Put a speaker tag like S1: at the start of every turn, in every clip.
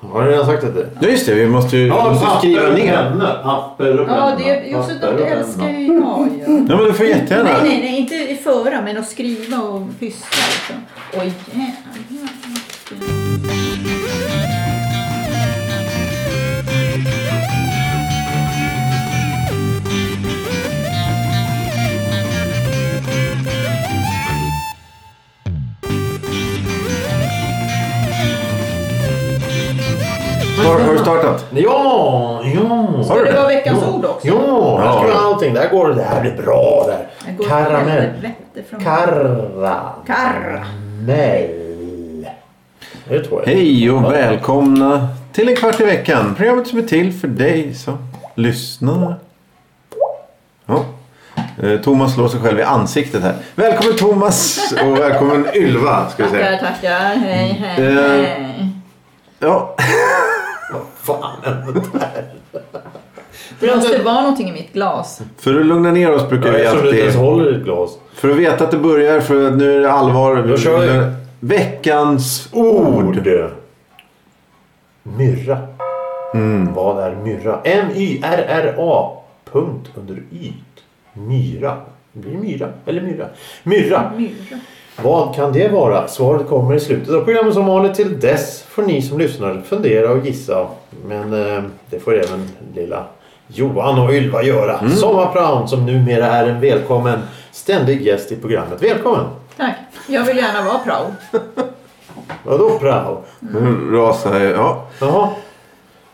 S1: Har ni redan sagt detta?
S2: Ja just det, vi måste ju...
S1: Ja,
S2: måste
S1: papper
S2: skriva
S1: och
S2: ner.
S1: penna. Papper och
S3: Ja,
S1: penna.
S3: det, Josef
S1: Papper och
S3: Dahl
S1: penna.
S3: älskar ju jag ju.
S2: Ja men du får jättegärna.
S3: Nej, nej, nej, inte i föra, men att skriva och pyssla liksom. Oj, jävlar.
S2: Har, har du startat?
S1: Ja, ja.
S2: Har du
S3: Det
S2: det?
S3: var veckans ord också.
S1: Ja,
S2: Ja.
S1: här ska vi ha allting. Där går det. Det här blir bra där.
S3: Jag går
S1: Karamell.
S3: helvete från-
S1: Karra.
S3: Karra.
S1: Mell. Det tror jag.
S2: Hej och välkomna till en kvart i veckan. Programmet som är till för dig som lyssnar. Ja. Eh, Thomas slår sig själv i ansiktet här. Välkommen Thomas och välkommen Ylva ska vi
S3: Tackar,
S2: säga.
S3: tackar. Hej,
S1: Mm.
S3: hej,
S2: Eh.
S3: hej.
S2: Ja,
S1: Fan.
S3: Det måste vara någonting i mitt glas.
S2: för att lugna ner oss brukar vi
S1: Eftersom du inte ens
S2: alltid...
S1: håller i ett glas.
S2: För att veta att det börjar, för att nu är det allvar.
S1: Då kör vi.
S2: Veckans ord.
S1: Myrra.
S2: Mm.
S1: Vad är myrra? M-Y-R-R-A. Punkt under y. Myra. Det blir myra. Eller myra. Myrra.
S3: Myra.
S1: Vad kan det vara? Svaret kommer i slutet av programmet som vanligt. Till dess får ni som lyssnar fundera och gissa. Men eh, det får även lilla Johan och Ylva göra.
S2: Mm.
S1: Sommarpraon som numera är en välkommen ständig gäst i programmet. Välkommen!
S3: Tack. Jag vill gärna vara prao.
S1: Vadå prao?
S2: Nu rasar jag. Mm, Ja.
S1: Jaha.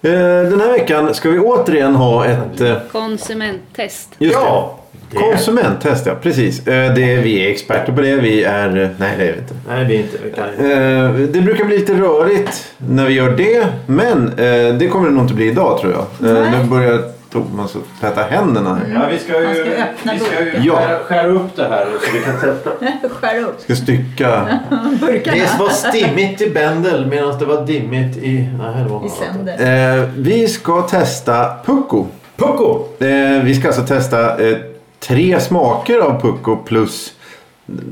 S2: Eh, Den här veckan ska vi återigen ha ett... eh,
S4: Konsumenttest.
S2: Just
S1: ja!
S2: det. Konsumenttest, ja. Precis. Eh, Det, vi är experter på det. Vi är... eh, Nej, det är vi inte.
S1: Nej, vi är inte. Vi kan inte.
S2: Eh, Det brukar bli lite rörigt när vi gör det. Men eh, det kommer det nog inte bli idag, tror jag. Eh,
S3: Nej.
S2: Nu börjar Thomas att tvätta händerna. här.
S1: Ja, vi ska ju,
S3: Man ska ju öppna
S1: vi ska ju
S3: burken.
S2: Ja.
S1: skära, skära upp det här så vi kan testa.
S3: Skär upp
S2: Ska stycka.
S3: burkarna
S1: Det var stimmigt i Bendel medan det var dimmigt i... Nej, det var något
S3: i
S1: annat.
S3: sänder.
S2: Eh, Vi ska testa pucko.
S1: Pucko!
S2: Eh, Vi ska alltså testa eh, tre smaker av pucko plus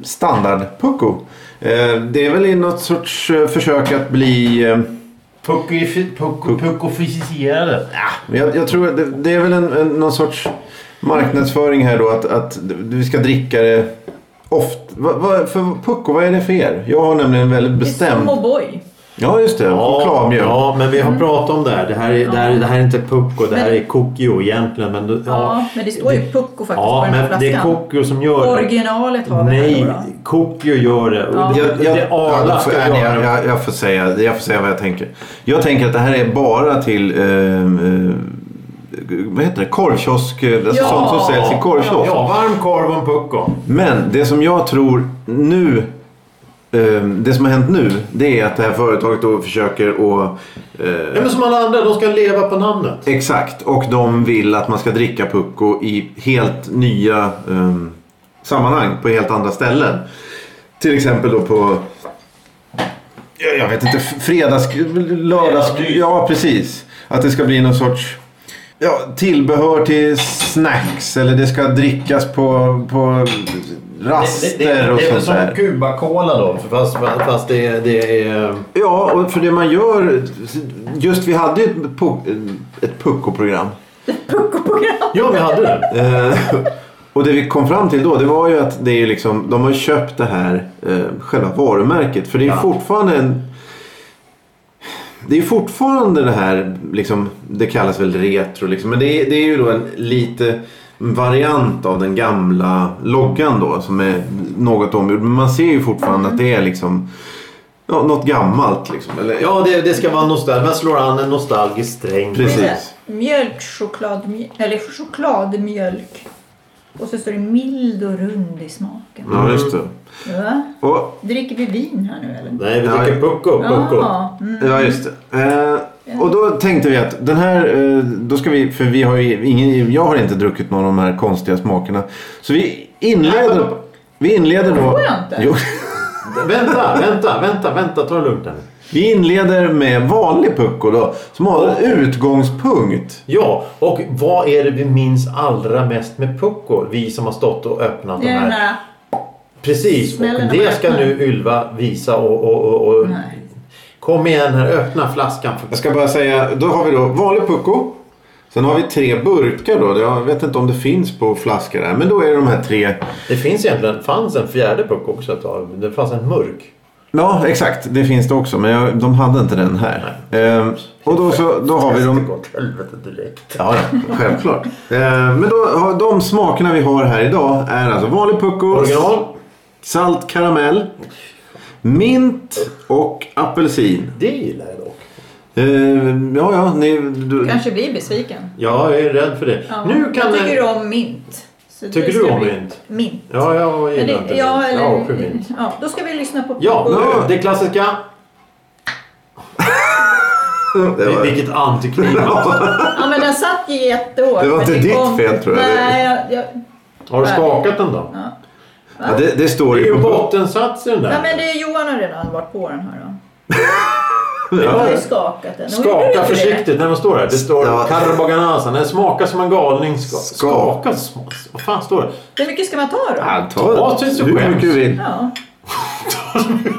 S2: standardpucko. Eh, Det är väl i något sorts eh, försök att bli... eh,
S1: Puckofi- pucko- Puckoficerade.
S2: Men Jag, jag tror att det, det är väl en, en, någon sorts marknadsföring här då att, att vi ska dricka det ofta. Va, va, för pucko, vad är det för er? Jag har nämligen väldigt bestämt...
S3: Som O'boy.
S2: Ja, just det. Chokladmjöl.
S1: ja, men vi
S3: Mm.
S1: har pratat om det här. Det här är, det här, det här är inte pucko, det här är kokio egentligen. Men, du-
S3: Ja, men det står ju pucko faktiskt
S1: Ja,
S3: på den här
S1: men
S3: flaskan.
S1: det är kokio som gör det.
S3: Originalet har vi här
S1: Nej,
S3: då, då.
S1: kokio gör det.
S3: Ja.
S1: Och Det, det, det Arla
S2: jag, får-
S1: ska
S2: nej,
S1: göra
S2: jag,
S1: det.
S2: jag, jag, får säga, jag får säga vad jag tänker. Jag tänker att det här är bara till eh, eh, vad heter det? korvkiosk, eh, alltså
S3: Ja.
S2: sånt som säljs i korvkiosk.
S1: Ja, varm korv och en pucko.
S2: Men det som jag tror nu, eh, det som har hänt nu, det är att det här företaget då försöker att...
S1: Ja,
S2: Eh,
S1: men som alla andra, de ska leva på namnet.
S2: exakt, och de vill att man ska dricka Pucko i helt nya eh, sammanhang på helt andra ställen. Till exempel då på... jag- Jag vet inte, f- fredags... lördags...
S1: Fredagsmys.
S2: Ja, precis. Att det ska bli någon sorts... Ja, tillbehör till snacks eller det ska drickas på, på raster
S1: Alltså, Det, det, det,
S2: och
S1: det är väl
S2: sånt
S1: som
S2: där.
S1: Cuba-Cola då, fast, fast det, det är... eh,
S2: Ja, och för det man gör... Just vi hade ju ett, pu- ett pucko-program.
S1: Ja, vi hade det.
S2: Eh, och det vi kom fram till då, det var ju att det är ju liksom, de har köpt det här eh, själva varumärket. För det är
S1: Ja.
S2: fortfarande en... Det är fortfarande det här, liksom, det kallas väl retro, liksom, men det är, det är ju då en lite variant av den gamla loggan då som är något omgjord. Men man ser ju fortfarande att det är liksom ja, något gammalt. Liksom, eller, ja,
S1: Ja, det, det ska vara nostalgiskt. Man slår an en nostalgisk sträng.
S2: Precis.
S3: Det är så här, Mjölk, choklad, mj- eller chokladmjölk. Och så står det mild och rund i smaken.
S2: ja just det.
S3: Va?
S2: Och,
S3: Dricker vi vin här nu eller?
S1: Nej, vi dricker
S2: Ja.
S1: pucko, pucko.
S3: Ja, mm.
S2: Ja, just det. Eh, och då tänkte vi att den här, eh, då ska vi, för vi har ju ingen, jag har inte druckit någon av de här konstiga smakerna. Så vi
S1: Nej,
S2: inleder,
S1: men-
S2: vi inleder då.
S3: Får jag inte?
S2: Jo,
S1: Vänta, vänta, vänta, vänta. Ta det lugnt här.
S2: vi inleder med vanlig pucko då, som har en utgångspunkt.
S1: Ja, och vad är det vi minns allra mest med pucko? Vi som har stått och öppnat
S3: Det
S1: de
S3: är den
S1: här.
S3: här
S1: Precis, och
S3: smällen när man
S1: det ska
S3: öppnar.
S1: nu Ylva visa och... och, och, och
S3: Nej.
S1: Kom igen här, öppna flaskan. För...
S2: Jag ska bara säga, då har vi då vanlig pucko. Sen har vi tre burkar då. Jag vet inte om det finns på flaskor där. Men då är det de här tre.
S1: Det finns egentligen, fanns en fjärde puck också ett tag. Det fanns en mörk.
S2: Ja, exakt. Det finns det också. Men jag, de hade inte den här. Ehm, och då, så, då har vi
S1: Det
S2: de...
S1: går åt helvete direkt.
S2: Ja, ja, självklart. Ehm, men då, har- de smakerna vi har här idag är alltså vanlig pucko.
S1: Original.
S2: Salt karamell. Mint och apelsin.
S1: Det gillar jag dock.
S2: Ehm, ja, ja. Ni, du,
S3: Kanske blir besviken.
S1: Ja, jag är rädd för det.
S3: Ja.
S1: Nu kan
S3: jag tycker
S1: jag...
S3: om mint. Så det
S1: Tycker du
S3: ska
S1: om
S3: bli-
S1: mint?
S3: Mint.
S1: Ja, jag gillar
S3: Eller,
S1: inte
S3: ja,
S1: mint.
S3: eller,
S1: Jag är avskyr mint.
S3: ja, då ska vi lyssna på
S1: Ja,
S3: på-
S2: Ja.
S1: nu, det klassiska.
S2: det var-
S1: Vilket antiklimax.
S3: ja, men den satt ju jättehårt.
S2: Det var inte
S3: men
S2: ditt fel, tror jag.
S3: Nej, jag, jag,
S1: Har du skakat den då?
S3: ja.
S2: ja, det, det står
S1: Det är
S2: ju
S1: ju
S2: på...
S1: bottensats i den
S3: Ja,
S1: där.
S3: men det är Johan har redan varit på den här då. Jag har
S1: Ja.
S3: ju skakat den. Och gjorde
S1: Skaka
S3: du inte
S1: försiktigt när man står där. Det står
S2: Ja.
S1: Karboganasa. Den smakar som en galning. Ska,
S2: Skak.
S1: skaka. smak- Vad fan står det?
S3: det? Hur mycket ska man ta då?
S2: Ja,
S1: Ta tills du
S2: hur
S1: skäms.
S2: mycket du vill.
S3: Ja.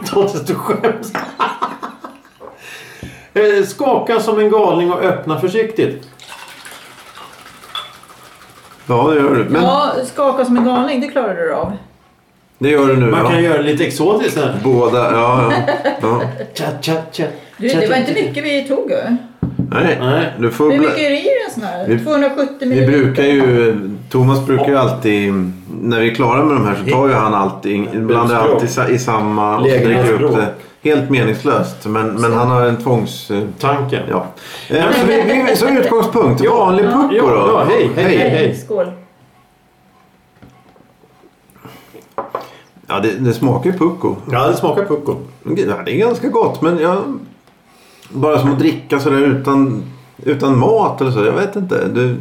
S1: Ta tills du skäms. Eh, Skaka som en galning och öppna försiktigt.
S2: Ja, det gör du. Men
S3: ja, skaka som en galning, det klarar du av.
S2: det gör du nu.
S1: Man
S2: ja.
S1: kan göra det lite exotiskt. Här.
S2: Båda, ja, ja. ja.
S1: Tja, tja, tja.
S3: Du,
S1: Tja,
S3: det var
S1: tja,
S3: inte
S1: tja.
S3: mycket vi tog. ju.
S2: Nej,
S1: Nej.
S2: du får...
S3: Hur
S2: bla-
S3: mycket är det i en sån här?
S2: Vi-
S3: 270
S2: Vi
S3: ml?
S2: brukar ju... Thomas brukar ju alltid... När vi är klara med de här så tar ju han allting, blandar allt i, sa- i samma och så dricker upp det. Helt meningslöst. Men, men han har en tvångs... eh,
S1: Tanken.
S2: Ja. Eh, Så, vi, vi, så utgångspunkt, vanlig pucko
S1: Ja,
S2: då.
S1: ja, hej, hej, hej.
S3: Skål.
S2: Ja, det, det smakar ju pucko.
S1: Ja, det smakar pucko.
S2: Ja, det är ganska gott men jag... Bara som att dricka sådär utan, utan mat eller så. Jag vet inte. Du,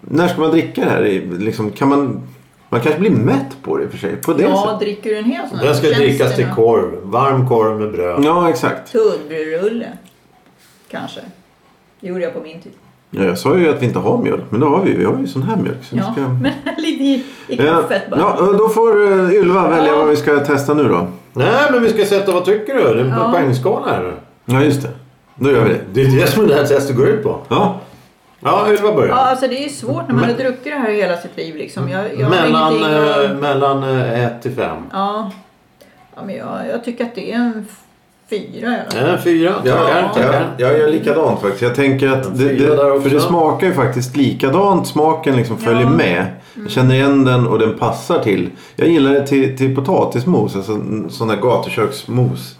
S2: när ska man dricka det här? i- Liksom, kan man, man kanske blir mätt på det i och för sig. På det
S3: Ja,
S2: sättet.
S3: dricker du en hel sån här?
S1: Den ska
S3: Känns
S1: drickas
S3: det
S1: till
S3: då?
S1: korv. Varm korv med bröd.
S2: Ja, exakt.
S3: Tunnbrödsrulle. Kanske. Det gjorde jag på min tid.
S2: Ja, jag sa ju att vi inte har mjölk, men det har vi ju. Vi har ju sån här mjölk. Så vi
S3: Ja,
S2: ska...
S3: men lite i, i
S2: Ja,
S3: kaffet bara.
S2: ja, då får eh, Ylva välja
S3: Ja.
S2: vad vi ska testa nu då.
S1: Nej, men vi ska sätta vad tycker du? Det är en
S3: Ja.
S1: poängskala här.
S2: Ja, just det. Då gör vi det.
S1: Det är det som det här testet går ut på.
S2: Ja,
S1: Ja, Ylva
S3: Ja,
S1: börjar.
S3: alltså det är ju svårt när man
S1: Men-
S3: har druckit det här hela sitt liv liksom. Jag, jag har
S1: Mellan,
S3: ingenting att-
S1: eh, mellan 1 till 5.
S3: Ja. ja men jag, jag tycker att det är en f- fyra i alla fall.
S1: En Eh, fyra. Tackar, tackar.
S2: jag, jag gör likadant faktiskt. Jag tänker att det,
S1: Fyra där
S2: det,
S1: också.
S2: för det smakar ju faktiskt likadant. Smaken liksom följer
S3: Ja. Mm.
S2: med. Jag känner igen den och den passar till. Jag gillar det till, till potatismos. Alltså n- sån där gatuköksmos.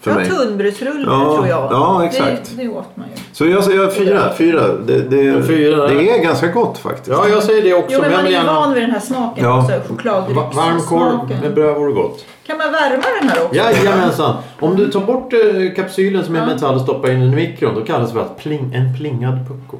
S2: För
S3: ja,
S2: mig.
S3: tunnbrödsrulle
S2: Ja,
S3: tror jag.
S2: ja, exakt.
S3: Det, det åt man ju.
S2: Så jag säger fyra. fyra. Det, det,
S1: En fyra där.
S2: det är ganska gott faktiskt.
S1: Ja, jag säger det också.
S3: Jo, men
S1: men jag
S3: man är
S1: vill
S3: ju van
S1: gärna...
S3: vid den här smaken
S2: Ja.
S3: också.
S1: Va- Varm korv med
S3: Chokladdryckssmaken.
S1: bröd vore gott.
S3: Kan man värma den här också?
S1: Jajamensan. Om du tar bort eh, kapsylen som är
S3: Ja.
S1: metall och stoppar in den i mikron då kallas det för att pling, en plingad pucko.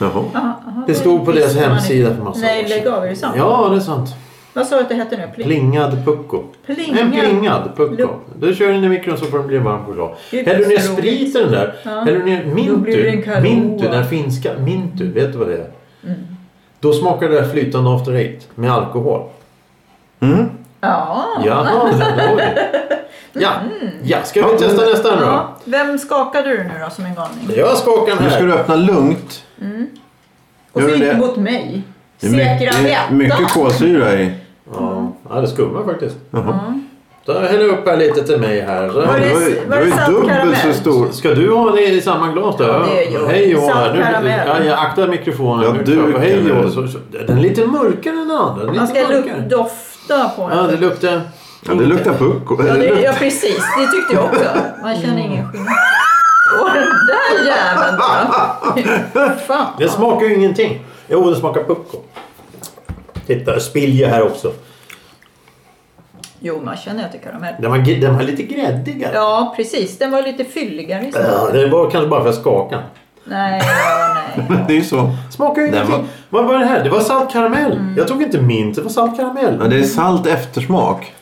S2: Jaha.
S3: Aha, aha,
S1: Det stod på
S3: visste
S1: deras
S3: man
S1: hemsida
S3: inte.
S1: för massa år
S3: Nej,
S1: sedan.
S3: lägg av. Är det sant?
S1: Ja, det är sant.
S3: Vad sa du att det hette nu? Pling.
S1: Plingad pucko.
S3: Plingad.
S1: En plingad pucko.
S3: Lupp.
S1: Då kör du den i mikron så får den bli en varm choklad.
S3: Gud,
S1: Häller du ner
S3: så roligt.
S1: sprit i den där.
S3: Ja.
S1: Häller du ner
S3: Då blir det en
S1: mintu.
S3: Kahlua.
S1: Mintu, den finska. Mintu, vet du vad det är?
S3: Mm.
S1: Då smakar det där flytande after eight med alkohol.
S3: Ah.
S2: Mm.
S3: Ja.
S1: Jaha, det var det. Ja, ja, ska vi
S2: Ja,
S1: testa
S2: men-
S1: nästa nu då?
S3: Mm. Ja. Vem skakade du nu då som en galning?
S1: Jag skakar den
S2: Nu ska du
S1: här.
S2: öppna lugnt.
S3: Mm. Och
S2: Gör
S3: så
S2: du
S3: inte
S2: det?
S3: mot mig.
S2: Det är mycket,
S3: Säkra
S2: det är mycket kolsyra i.
S1: Ja, ja, det skummar faktiskt. Så jag häller upp här lite till mig här. Så.
S3: Var
S2: Ja,
S3: det-
S2: var ju-
S3: var det
S2: ju
S3: salt
S2: dubbelt så
S3: karamell?
S2: stor.
S1: Ska du ha det i samma glas då?
S3: Ja, det gör jag.
S1: Hej Johan.
S3: Salt
S1: Nu-
S3: karamell.
S1: Ja, jag aktar mikrofonen.
S2: Ja,
S1: nu.
S2: du-
S1: Så, Hej Johan. Så, så, den är lite mörkare än den andra. Den är
S3: Man
S1: lite
S3: ska
S1: mörkare.
S3: luk- dofta på den.
S1: Ja, det luktar...
S2: Ja, det luktar pucko.
S3: Ja,
S2: Eller
S3: det,
S2: luktar-
S3: ja precis, det tyckte jag också. Man känner ingen skillnad. Och den där jäveln då. Fan.
S1: Det smakar ju ingenting. Jo, det smakar pucko. Titta, det spiljer här också.
S3: Jo, man känner att det är karamell.
S1: Den var, gr- den var lite gräddigare.
S3: Ja, precis. Den var lite fylligare. i smak.
S1: Ja, Det var kanske bara för att skaka.
S3: Nej, ja, nej.
S2: Det är ju så.
S1: Smakar ju
S2: Den
S1: ingenting. Vad var det här? Det var salt karamell.
S3: Mm.
S1: Jag tog inte mint, det var salt karamell.
S2: Ja, det är salt eftersmak.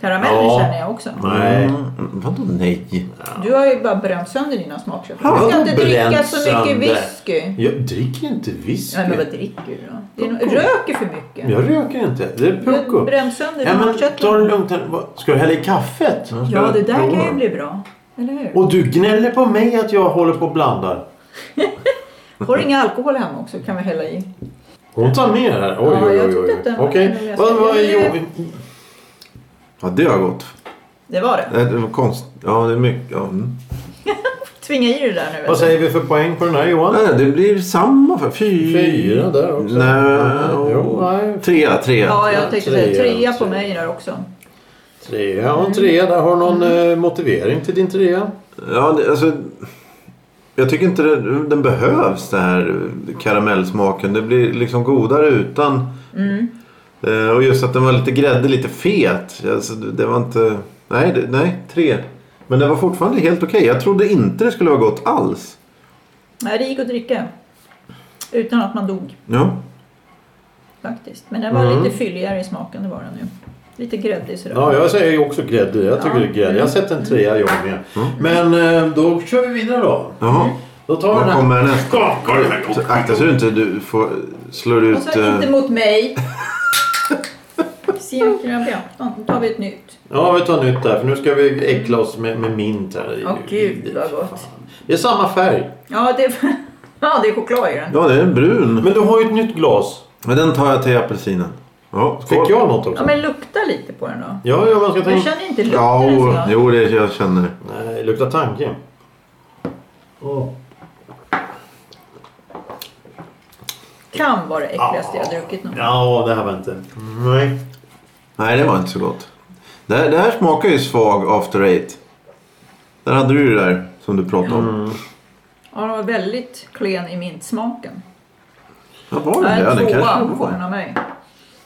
S3: Karamellen
S1: Ja.
S3: känner jag också.
S1: Nej.
S2: Mm, vadå nej?
S3: Du har ju bara bränt sönder dina smaköppningar.
S1: Ja,
S3: Du ska inte dricka
S1: bränt
S3: så mycket
S1: sönder.
S3: whisky.
S1: Jag dricker inte whisky.
S3: Nej, men vad dricker du då? Det är nog, röker för mycket.
S1: Jag röker inte. Det är
S3: Du har
S1: pucko.
S3: bränt sönder
S1: Ja,
S3: dina
S1: men ta det
S3: köttbullar.
S1: lugnt. här. Vad- Ska du hälla i kaffet? Ska
S3: Ja,
S1: jag
S3: det där kan
S1: prova?
S3: ju bli bra. Eller hur?
S1: Och du gnäller på mig att jag håller på och blandar.
S3: Får inga alkohol hemma också kan vi hälla i.
S1: Hon tar med det här. Oj,
S3: Ja,
S1: oj,
S3: jag
S1: oj.
S3: tyckte
S1: oj.
S3: att den var-
S1: Okej.
S3: jag
S1: Vad
S3: ska-
S1: vad är
S3: jag-
S1: jobbigt?
S2: Ja, det har gått.
S3: Det var det.
S2: Nej, Det var konst... Ja, det är mycket. Ja. Mm.
S3: Tvinga i det där nu.
S1: Vad säger vi för poäng på den här Johan?
S2: Nej, det blir samma för fyra.
S1: Fyra där också.
S2: Nej,
S1: Jo, nej.
S2: Trea, trea.
S3: Ja, jag tänkte säga
S1: Trea,
S3: trea på
S1: trea.
S3: mig där också.
S1: Trea och en trea. Där har du någon
S3: Mm.
S1: eh, motivering till din trea?
S2: Ja, det, alltså, jag tycker inte det, den behövs den här karamellsmaken. Det blir liksom godare utan.
S3: Mm.
S2: Eh, och just att den var lite grädde, lite fet. Alltså, det, det var inte... Nej, det, nej, tre. Men det var fortfarande helt okej. Jag trodde inte det skulle vara gott alls.
S3: Nej, det gick att dricka. Utan att man dog
S2: Ja,
S3: faktiskt. Men den var
S1: Mm.
S3: lite fylligare i smaken, det var den ju. Lite gräddig sådär.
S1: Ja, jag säger ju också grädde. Jag tycker
S3: Ja.
S1: det är grädde. Jag har sett en trea jag med. Men eh, då kör vi vidare då.
S2: jaha.
S1: Då tar vi den
S2: Vad
S1: här.
S2: kommer nästa?
S1: Kom, kom, kom,
S2: Så
S1: kom.
S2: Akta så du inte du får, slår ut...
S3: Och så
S2: eh,
S3: inte mot mig. Simkrabbeafton. Då tar vi ett nytt.
S1: Ja, vi tar nytt där. För nu ska vi äckla oss med, med mint här. i.
S3: Åh gud vad gott.
S1: Det är samma färg.
S3: Ja, det, ja, det är choklad i den.
S2: Ja, det är en brun.
S1: Men du har ju ett nytt glas.
S2: Men den tar jag till apelsinen. Ja, skål.
S1: Fick jag något
S3: Ja,
S1: också?
S3: men lukta lite på den då.
S1: Ja, ja, man ska
S3: Jag
S1: tänka.
S3: känner inte lukten
S2: Ja,
S3: ens
S2: o-
S3: va?
S2: jo, det jag känner det.
S1: Nej, det luktar tanke. Åh.
S3: Kan vara det äckligaste jag har druckit någon gång.
S1: Ja, det här var inte... Nej.
S2: Nej, det var inte så gott. Det här, det här smakar ju svag after eight. Där hade du ju det där som du pratade om.
S1: Mm.
S3: Ja, den var väldigt klen i mintsmaken.
S2: Vad var det?
S3: Nej,
S2: Ja,
S3: en
S2: den kanske
S3: tvåa
S2: det
S3: får den
S2: var.
S3: av mig.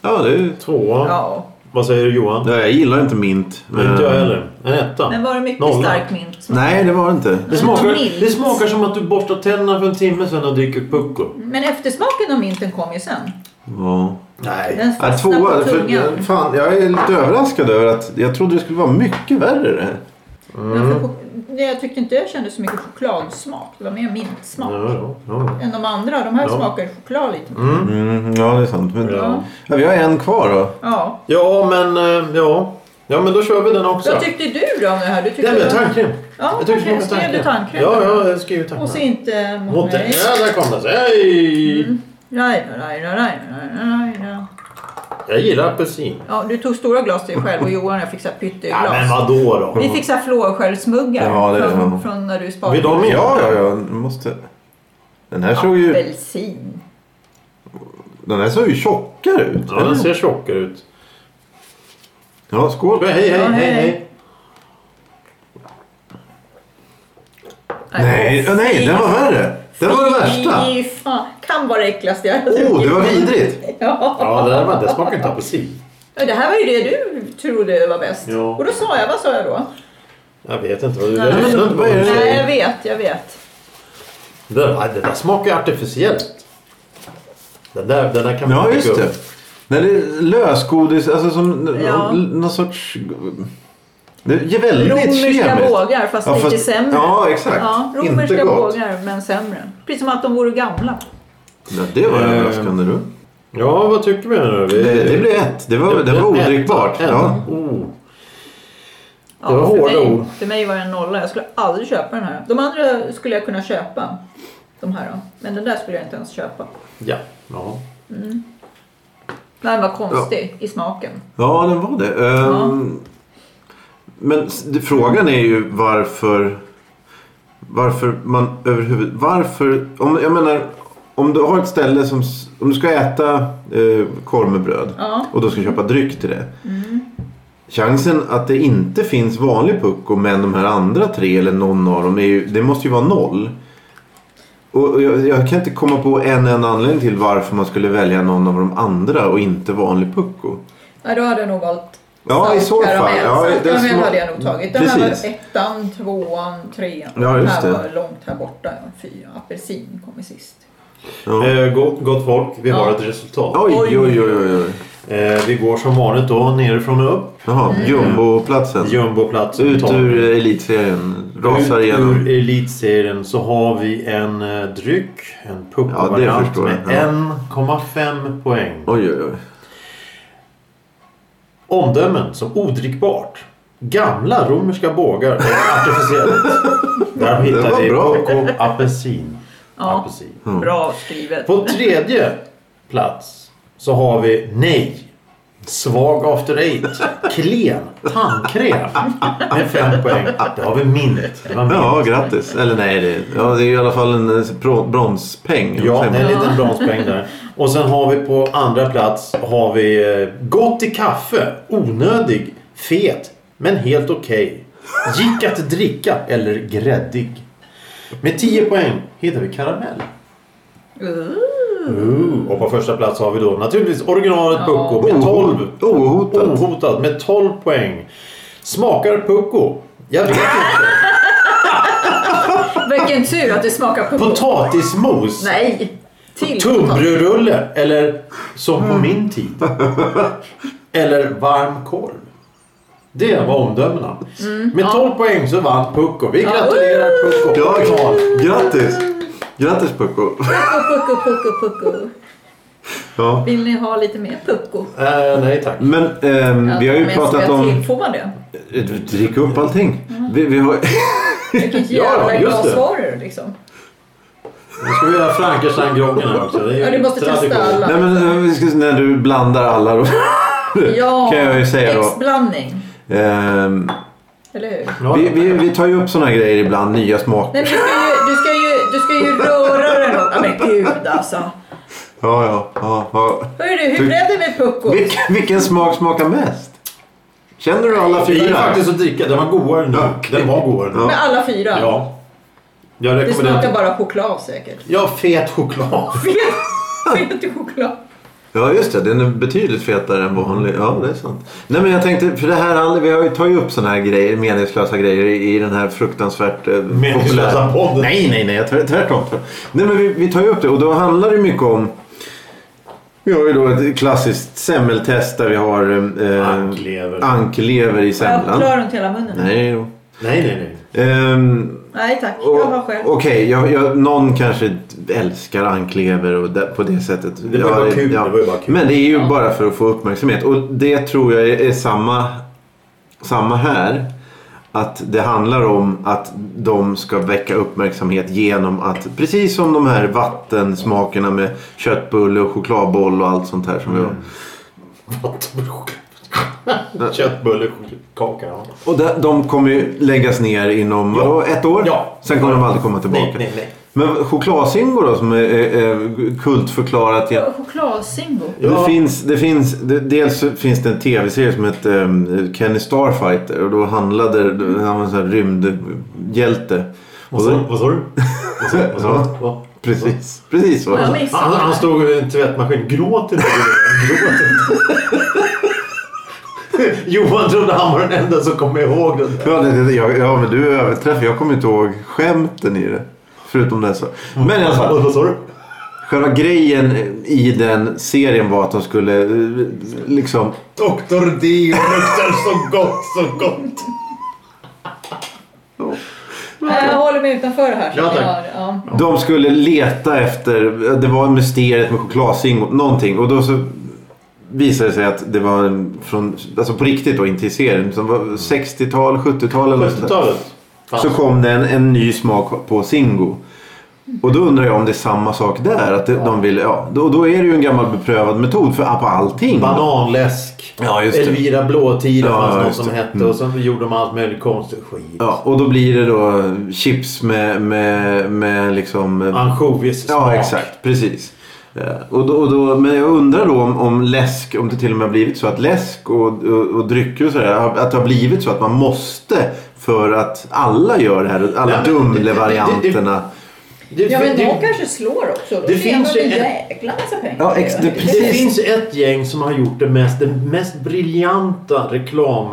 S2: Ja, det är ju...
S1: Tvåa.
S3: Ja.
S1: Vad säger du Johan?
S2: Ja, jag gillar inte mint.
S1: Men inte jag heller. En etta.
S3: Men var det mycket
S1: Nolla.
S3: stark mintsmak?
S2: Nej, det var det inte.
S1: Det smakar,
S3: Milt.
S1: det smakar som att du borstar tänderna för en timme sedan och dricker pucko.
S3: Men eftersmaken av minten kom ju sen.
S2: Ja.
S1: Nej.
S3: Den
S2: Ja,
S3: fastnade
S2: tvåa.
S3: på
S2: För,
S3: tungan.
S2: fan, jag är lite överraskad över att jag trodde det skulle vara mycket värre det här. Mm.
S3: Varför chok- Nej, Alltså, Jag tyckte inte jag kände så mycket chokladsmak. Det var mer mintsmak.
S1: Ja, ja, ja.
S3: Än de andra. De här
S1: Ja.
S3: smakar ju choklad lite.
S2: Mm, ja, det är sant. Men, ja.
S1: Ja.
S2: vi har en kvar då.
S3: Ja.
S1: ja, men eh, ja. Ja, men då kör vi den också.
S3: Vad tyckte du då om det här? Du tyckte
S1: Den med
S3: det var-
S1: tandkräm.
S3: Ja,
S1: jag tyckte det
S3: tandkräm. Skrev
S1: smakade
S3: du tandkräm?
S1: Ja, ja, jag skrev
S3: Och så
S1: tandkräm.
S3: inte mot
S1: Mot den.
S3: mig.
S1: Ja, där kom den. Hej!
S3: Mm. Nej, nej, nej, nej, nej, nej, nej.
S1: Jag gillar apelsin.
S3: Ja, du tog stora glas till dig själv och Johan och jag fick så här
S1: Ja, men
S3: pytteglas.
S1: vadå då?
S3: Vi fick så här fluorsköldsmuggar
S2: Ja, det är
S3: från,
S2: det.
S3: från när du sparade.
S1: Vill de
S2: Ja,
S1: med?
S2: ja, ja. nu Måste... Den här såg ju,
S3: Apelsin.
S2: den här såg ju tjockare ut.
S1: Ja, den ser tjockare ut.
S2: ja skål.
S1: Hej, hej,
S3: Ja,
S1: hej, hej.
S3: hej, hej.
S2: Nej, ja, nej, den var värre. Den var det värsta.
S3: Fy fan. Kan vara det äckligaste jag har
S2: Åh, det var vidrigt.
S3: Ja.
S1: Ja, det där var, det smakar inte apelsin.
S3: Det här var ju det du trodde var bäst.
S1: Ja.
S3: Och då sa jag, vad sa jag då?
S2: Eh.
S1: Jag vet inte vad du...
S3: Nej.
S1: Jag lyssnar inte på vad du
S3: Nej, jag
S1: säger.
S3: vet, jag vet.
S1: Det där- Det där smakar ju artificiellt. Den där, den där kan man
S2: Ja,
S1: inte
S2: just
S1: dricka
S2: det.
S1: upp.
S2: När det är lösgodis, alltså som
S3: Ja.
S2: någon sorts... Det är väldigt
S3: Romerska
S2: kemiskt.
S3: bågar fast
S2: Ja,
S3: lite
S2: fast-
S3: sämre.
S2: ja, exakt.
S3: Ja,
S2: Inte
S3: romerska
S2: gott.
S3: bågar men sämre. Precis som att de vore gamla.
S2: Ja, det var
S1: Eh,
S2: överraskande du.
S1: Ja, vad tycker vi nu? Vi...
S2: Ehm, Det, det blev ett. Det var, det var odrickbart.
S1: Ett, ett.
S2: Ja.
S1: Oh.
S3: Ja,
S1: Det var
S3: för,
S1: hårda
S3: mig,
S1: ord.
S3: för mig var det en nolla. Jag skulle aldrig köpa den här. De andra skulle jag kunna köpa. De här då. Men den där skulle jag inte ens köpa.
S1: Ja. ja.
S3: Den var konstig i smaken.
S2: ja, den var det. Ehm, Men s- det- frågan är ju varför... Varför man överhuvudtaget... Varför... Om, jag menar, om du har ett ställe som... s- Om du ska äta eh, korv med bröd.
S3: Ja. Mm.
S2: och då ska köpa dryck till det. Chansen att det inte finns vanlig pucko men de här andra tre eller någon av dem, är ju, det måste ju vara noll. Och och jag, jag kan inte komma på en enda anledning till varför man skulle välja någon av de andra och inte vanlig pucko.
S3: Nej, då hade jag nog valt
S2: Ja, i så fall.
S3: saltkaramell.
S2: Ja, det
S3: Saltkaramell
S2: smak-
S3: hade jag nog tagit. Den
S2: Precis.
S3: här var ettan, tvåan, trean.
S2: Ja, just
S3: den
S2: det.
S3: här var långt här borta. Fyra. Apelsin kommer sist.
S2: Ja.
S1: Eh, gott, gott folk, vi har
S3: Ja.
S1: ett resultat.
S2: Oj, oj, oj, oj. oj.
S1: Eh, vi går som vanligt då nerifrån och upp.
S2: Jaha,
S3: Mm.
S2: jumboplatsen.
S1: Jumboplats.
S2: Ut
S1: tar-
S2: ur elitserien. Rasar
S1: Ut
S2: igenom.
S1: ur elitserien så har vi en eh, dryck, en
S2: Ja, det
S1: puckovariant
S2: förstår jag.
S1: med
S2: Ja.
S1: 1,5 poäng.
S2: Oj, oj, oj.
S1: Omdömen som odrickbart. Gamla romerska bågar och artificiellt. Där
S2: Det
S1: hittar
S2: var
S1: vi
S2: bra.
S1: Poco apelsin.
S3: Ja.
S1: apelsin.
S2: Mm.
S3: Bra skrivet.
S1: På tredje plats så har vi Nej. Svag after eight. Klen. Tandkräm. Med fem poäng. Det har vi minnet. Det var minnet.
S2: Ja, grattis. Eller nej, det, ja, det är i alla fall en eh, bro- bronspeng. eller vad
S1: Ja,
S2: säger
S1: det är
S2: man?
S1: en
S3: Ja.
S1: liten bronspeng där. Och sen har vi på andra plats har vi eh, Gott i kaffe. Onödig. Fet. Men helt okej. Gick att dricka eller gräddig. Med 10 poäng hittar vi karamell.
S3: Uh, Ooh.
S1: Ooh, och på första plats har vi då naturligtvis originalet
S3: Ja.
S1: Pucko med 12.
S2: Ohotad.
S1: Ohotad med 12 poäng. Smakar Pucko? Jag vet inte.
S3: Vilken tur att det smakar på...
S1: Potatismos?
S3: Nej! Till Mm. potatis.
S1: Tunnbrödsrulle? Eller som på min tid? Eller varm korv? Det var omdömena.
S3: Mm.
S1: Med 12 poäng så vann Pucko. Vi gratulerar Pucko.
S2: Ja, grattis! Grattis Pucko!
S3: Pucko, pucko, pucko.
S2: Ja.
S3: Vill ni ha lite mer pucko?
S1: Eh, nej tack.
S2: Men ehm, vi har ju
S3: Men ska
S2: pratat
S3: jag
S2: om...
S3: Till, får man det?
S2: Drick upp allting. Vi, vi har...
S3: Vilket
S1: Ja,
S3: jävla
S1: just det.
S3: glasvaror liksom.
S1: Nu ska vi göra Frankenstein-groggen här också. Det är
S3: Ja, du måste
S1: tradition.
S3: testa alla.
S2: Nej, men, eh, vi ska, när du blandar alla då.
S3: Ja,
S2: kan jag ju säga då.
S3: häxblandning.
S2: Ehm,
S3: Eller hur?
S1: Ja.
S2: vi, vi, vi tar ju upp såna här grejer ibland, nya smaker.
S3: Nej, men du, ska ju, du, ska ju, du ska ju röra den upp. Ja, men gud alltså.
S2: Ja, ja, ja. ja.
S3: Hörru du, hur
S2: Du-
S3: blev det med pucko?
S2: Vilken, vilken smak smakar mest? Känner du alla
S1: Det är
S2: fyra?
S1: faktiskt att dricka. Den var godare nu.
S2: Okej.
S1: Den var godare nu.
S2: Ja.
S3: Med alla fyra?
S1: Ja. Jag
S3: Det
S1: rekommenderar
S3: smakar bara choklad säkert.
S1: Ja, fet choklad.
S3: Fet choklad.
S2: Ja, just det. Den är betydligt fetare än vanlig. Ja, det är sant. Nej, men jag tänkte, för det här, vi har ju tagit upp såna här grejer, meningslösa grejer i den här fruktansvärt eh,
S1: Meningslösa
S2: populära-
S1: podden.
S2: Nej, nej, nej. Tvärt, tvärtom. Nej, men vi, vi tar ju upp det och då handlar det mycket om vi har ju då ett klassiskt semmeltest där vi har eh,
S1: Anklever.
S2: anklever i
S3: Jag
S2: semlan.
S3: drar runt hela munnen. Nej,
S2: Nej, jo.
S1: Nej, nej, nej.
S2: Ehm,
S3: tack, jag har
S2: och-
S3: själv.
S2: Okej, jag, jag, någon kanske älskar anklever och där, på det sättet.
S1: Det var ju
S2: Ja,
S1: bara kul, det var ju bara kul.
S2: Men det är ju bara för att få uppmärksamhet. Och det tror jag är, är samma, samma här. Att det handlar om att de ska väcka uppmärksamhet genom att precis som de här vattensmakerna med köttbulle och chokladboll och allt sånt här som vi
S1: Mm.
S2: har.
S1: Köttbulle, choklad, ja.
S2: Och de, de kommer ju läggas ner inom vadå, ett år.
S1: Ja.
S2: Sen kommer de aldrig komma tillbaka.
S1: Nej, nej, nej.
S2: Men chokladzingo då som är, är, är kultförklarat.
S3: Jag
S2: Genom,
S3: har Chokladsingo.
S1: Ja.
S2: Det finns, det finns, det, dels så finns det en tv-serie som heter ehm, Kenny Starfighter och då handlade då- han var en sån här rymdhjälte. Och
S1: Vad sa
S2: då,
S1: vad sa du? Vad sa- vad sa
S2: Ja.
S1: du? Va? Ah,
S2: precis, precis så.
S3: Jag
S1: Han,
S3: missade
S1: han stod vid en tvättmaskin. Gråt inte. Gråt inte. Johan trodde han var den enda som kom ihåg det där.
S2: Ja, det, det, jag, ja men du överträffar, jag kommer inte ihåg skämten i det. Förutom det så. Men i alla fall.
S1: Vad vad sa du?
S2: Själva grejen i den serien var att de skulle eh, liksom...
S1: Doktor D luktar så gott, så gott.
S3: Nej, Jag håller mig utanför det här. så
S1: Ja, tack.
S3: jag- ja.
S2: De skulle leta efter... Det var mysteriet med chokladzingo, någonting. Och då så visade det sig att det var en från... Alltså på riktigt då, inte i serien. Som var 60-tal, 70-tal eller något sånt där.
S1: 70-talet. Fan.
S2: Så kom det en, en ny smak på Zingo. Och då undrar jag om det är samma sak där. Att det, de vill, ja, då, då är det ju en gammal beprövad metod för på allting.
S1: Bananläsk.
S2: Ja, just det.
S1: Elvira Blåtira
S2: Ja,
S1: fanns något
S2: just
S1: som
S2: det.
S1: hette. Och sen gjorde de allt möjligt konstigt. Skit.
S2: Ja, och då blir det då chips med, med, med liksom...
S1: Ansjovis smak.
S2: Ja, exakt. Precis. Eh, Och då, och då, men jag undrar då om, om läsk, om det till och med har blivit så att läsk och, och, och drycker och sådär, har- att det har blivit så att man måste för att alla gör det här, alla
S1: Nej, men det-
S2: Dumle-varianterna.
S1: Det,
S3: Ja, men
S1: det-
S3: de kanske slår också. Då
S1: det
S3: tjänar
S1: finns
S3: de
S1: ju
S3: en
S1: en-
S3: jäkla massa pengar.
S2: Ja, ex- det-
S1: Det
S2: Precis.
S1: finns ett gäng som har gjort det mest, den mest briljanta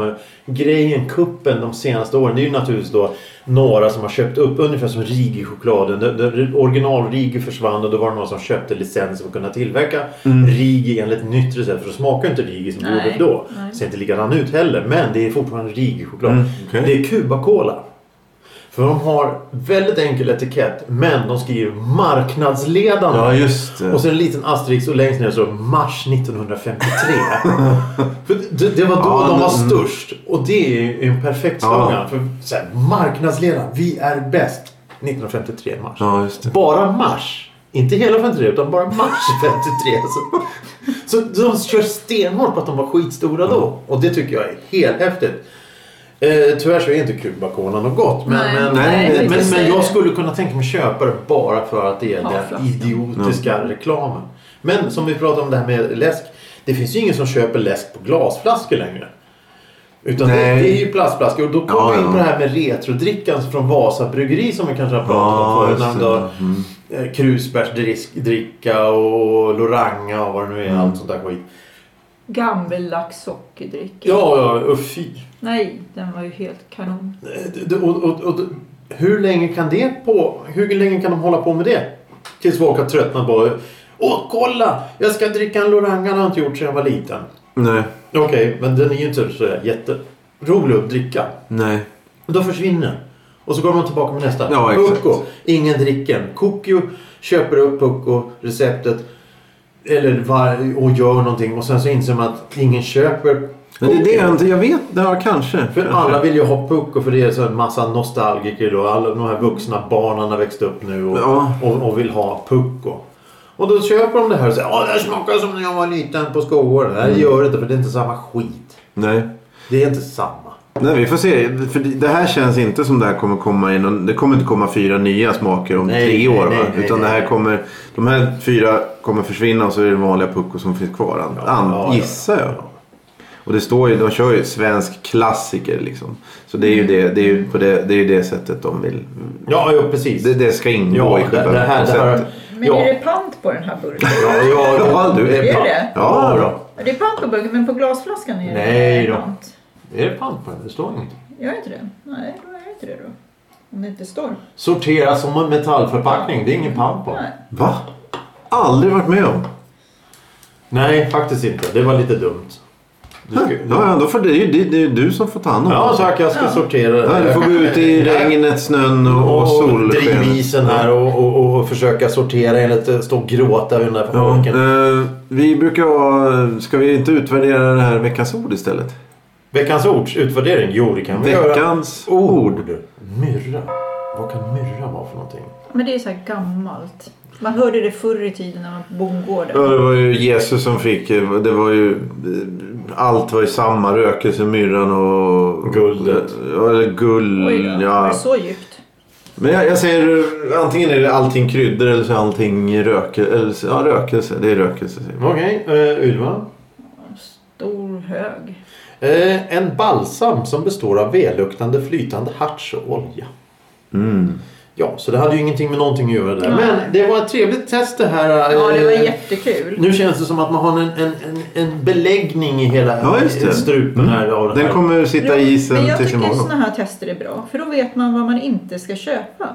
S1: reklamgrejen, kuppen, de senaste åren. Det är ju naturligtvis då några som har köpt upp, ungefär som Rigi-chokladen. Det- det- Original-Rigi försvann och då var det någon som köpte licenser för att kunna tillverka
S2: Mm.
S1: Rigi enligt nytt recept. För då smakar inte Rigi som det
S3: Nej,
S1: gjorde då.
S3: nej.
S1: Ser inte likadan ut heller, men det är fortfarande Rigi-choklad.
S2: Mm, okej.
S1: Det är Cuba-Cola. För de har väldigt enkel etikett men de skriver marknadsledande.
S2: Ja, just det.
S1: Och så en liten asterisk och längst ner så mars 1953. för det, det var då
S2: Ja,
S1: de var
S2: men-
S1: störst. Och det är ju en perfekt slogan.
S2: Ja.
S1: För så här, marknadsledare, vi är bäst. 1953 mars.
S2: Ja, just det.
S1: Bara mars. Inte hela 53 utan bara mars 53. Så, så de kör stenhårt på att de var skitstora då. Och det tycker jag är helt häftigt. Eh, tyvärr så är inte Kubakolan något gott. Men,
S3: Nej,
S1: men,
S2: nej, det är
S1: men, men,
S3: inte
S1: men
S3: så.
S1: jag skulle kunna tänka mig köpa det bara för att det är
S3: Ja,
S1: den
S3: flaskan.
S1: idiotiska reklamen. Men som vi pratade om det här med läsk. Det finns ju ingen som köper läsk på glasflaskor längre. Utan det,
S2: Nej.
S1: det är ju plastflaskor. Och då kommer
S2: Ja,
S1: vi in
S2: ja.
S1: på det här med retrodrickan från Vasa bryggeri som vi kanske har pratat
S2: Ja,
S1: om förut.
S2: just
S1: när
S2: det. Mm.
S1: de- Eh, krusbärsdricka och Loranga och vad det nu är.
S2: Mm.
S1: Allt sånt där skit.
S3: Gammellax sockerdricka.
S1: Ja, ja, och fy.
S3: Nej, den var ju helt kanon.
S1: Eh, d- d- Och, och, och, d- hur länge kan det på? Hur länge kan de hålla på med det? Tills folk har tröttnat på Åh, kolla! Jag ska dricka en Loranga. Det har jag inte gjort sedan jag var liten.
S2: Nej,
S1: Okej, men den är ju inte så jätterolig att dricka.
S2: nej.
S1: Men då försvinner den. Och så går man tillbaka med nästa.
S2: Ja, exakt.
S1: Pucko. Ingen dricker den. Kokio köper upp Pucko-receptet. Eller var- och gör någonting. Och sen så inser man att ingen köper
S2: Men det är det
S1: Pucko.
S2: jag inte... Jag vet. Ja, kanske.
S1: För alla vill ju ha Pucko för det är så en massa nostalgiker då. Alla de här vuxna barnen har växt upp nu och,
S2: Ja.
S1: och, och vill ha Pucko. Och då köper de det här och säger Åh, det här smakar som när jag var liten på skolgården. Nej, det gör det inte för det är inte samma skit.
S2: Nej.
S1: Det är inte samma.
S2: Nej, vi får se. För det- det här känns inte som det här kommer komma in. och Det kommer inte komma fyra nya smaker om
S1: Nej,
S2: tre
S1: nej,
S2: år.
S1: nej,
S2: va?
S1: nej,
S2: Utan det här
S1: nej.
S2: kommer... De här fyra kommer försvinna och så är det vanliga puckor som finns kvar. An,
S1: ja,
S2: an,
S1: ja.
S2: gissar jag. Och det står ju, de kör ju svensk klassiker liksom. Så det är ju det, det, är ju på det, det, är ju det sättet de vill.
S1: Ja, ja precis.
S2: Det, det ska ingå
S1: Ja,
S2: i
S1: det,
S2: själva
S1: det här... Det här
S2: konceptet.
S3: Men
S1: ja.
S3: är det pant på den här burken?
S1: Ja, ja,
S2: Ja, du
S3: Är
S2: är...
S3: det?
S1: Ja, då.
S3: Det är pant på burken, men på glasflaskan är det
S1: Nej då.
S3: pant.
S1: Är det pant på den? Det står inget.
S3: Gör det inte det? Nej, då är det inte det då. Om det inte står.
S1: Sortera som en metallförpackning. Det är ingen pant på.
S3: Nej.
S2: Va? Aldrig varit med om.
S1: Nej, faktiskt inte. Det var lite dumt. Du
S2: Ja,
S1: ska-
S2: ja, då får det, det, det, det är ju du som får ta hand om
S1: Ja, tack. Jag ska
S3: Ja.
S1: sortera det.
S2: Ja, du får gå ut i regnet, snön och, och solskenet.
S1: drivisen här och, och, och försöka sortera enligt eh, stå och gråta vid den där
S2: Ja,
S1: fabriken.
S2: eh, vi brukar ha... Ska vi inte utvärdera det här veckans ord istället?
S1: Veckans ords utvärdering? Jo, det kan vi göra.
S2: Veckans ord.
S1: Myrra. Vad kan myrra vara för någonting?
S3: Men det är så här gammalt. Man hörde det förr i tiden när man var på bondgården.
S2: Ja, det var ju Jesus som fick... eh, Det var ju... eh, Allt var ju samma. Rökelse, myrran och...
S1: Guldet.
S2: Ja, eller
S3: Oj
S2: guld.
S3: då, var
S2: mm, Ja.
S3: det så djupt?
S2: Men jag, jag säger eh, antingen är det allting kryddor eller så är allting rökelse. Eller, så- ja, rökelse. Det är rökelse. säger vi.
S1: Okej, eh, Ylva.
S3: Stor hög.
S1: Eh, en balsam som består av välluktande flytande harts och olja.
S2: Mm.
S1: Ja, så det hade ju ingenting med någonting att göra där.
S3: Nej.
S1: Men det var ett trevligt test det här.
S3: Ja, det var
S1: eh,
S3: jättekul.
S1: Nu känns det som att man har en, en, en, en beläggning i hela
S2: Ja, just det. Mm.
S1: strupen här. Av det här.
S2: Den kommer sitta i
S3: Men
S2: isen
S3: jag
S2: tills
S3: tycker
S2: imorgon.
S3: sådana här tester är bra. För då vet man vad man inte ska köpa.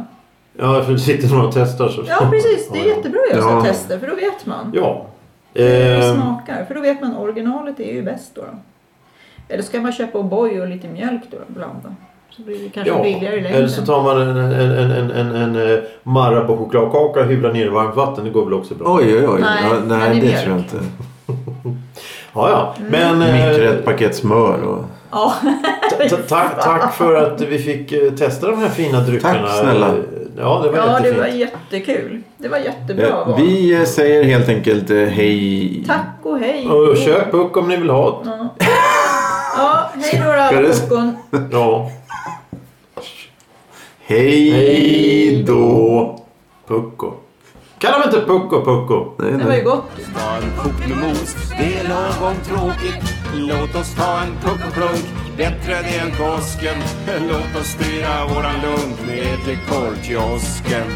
S1: Ja, för det sitter några och testar. Så.
S3: Ja, precis. Det är jättebra att göra sådana
S2: Ja.
S3: tester. För då vet man.
S1: Ja.
S3: Hur det
S1: Ehm,
S3: smakar. För då vet man originalet är ju bäst då. då. Eller ska man köpa O'boy och lite mjölk då och blanda. Så blir det kanske
S1: ja.
S3: billigare i
S1: Eller så
S3: längden.
S1: tar man en, en, en, en, en, en eh, Marabou chokladkaka och hyvlar ner i varmt vatten. Det går väl också bra.
S2: Oj, oj, oj.
S3: Nej,
S2: ja,
S3: men det är
S2: nej det
S3: mjölk.
S2: tror jag inte.
S1: Ja, ja.
S3: Mm.
S1: Men, eh,
S2: Mikra ett paket smör och...
S3: Ja,
S1: ta- ta- tack, tack för att vi fick eh, testa de här fina dryckerna.
S2: Tack, snälla.
S1: Ja, det var
S3: ja det
S1: jättefint.
S3: var jättekul. Det var jättebra
S2: Eh,
S3: val.
S2: Vi eh, säger helt enkelt eh, hej.
S3: Tack och hej.
S1: Och köp puck om ni vill ha ett.
S3: Ja, ja hej då
S2: Ska
S3: alla
S2: det-
S3: kokon.
S1: Ja.
S2: Hej,
S1: Hej
S2: då.
S1: då. Pucko. Kalla mig inte Pucko, Pucko.
S2: Nej,
S3: Det
S2: nej.
S3: var ju gott.
S4: ta en kokt med mos. Det är lagom tråkigt. Låt oss ta en puck och plunk. Bättre det än kiosken. Låt oss styra våran lunk ner till korvkiosken.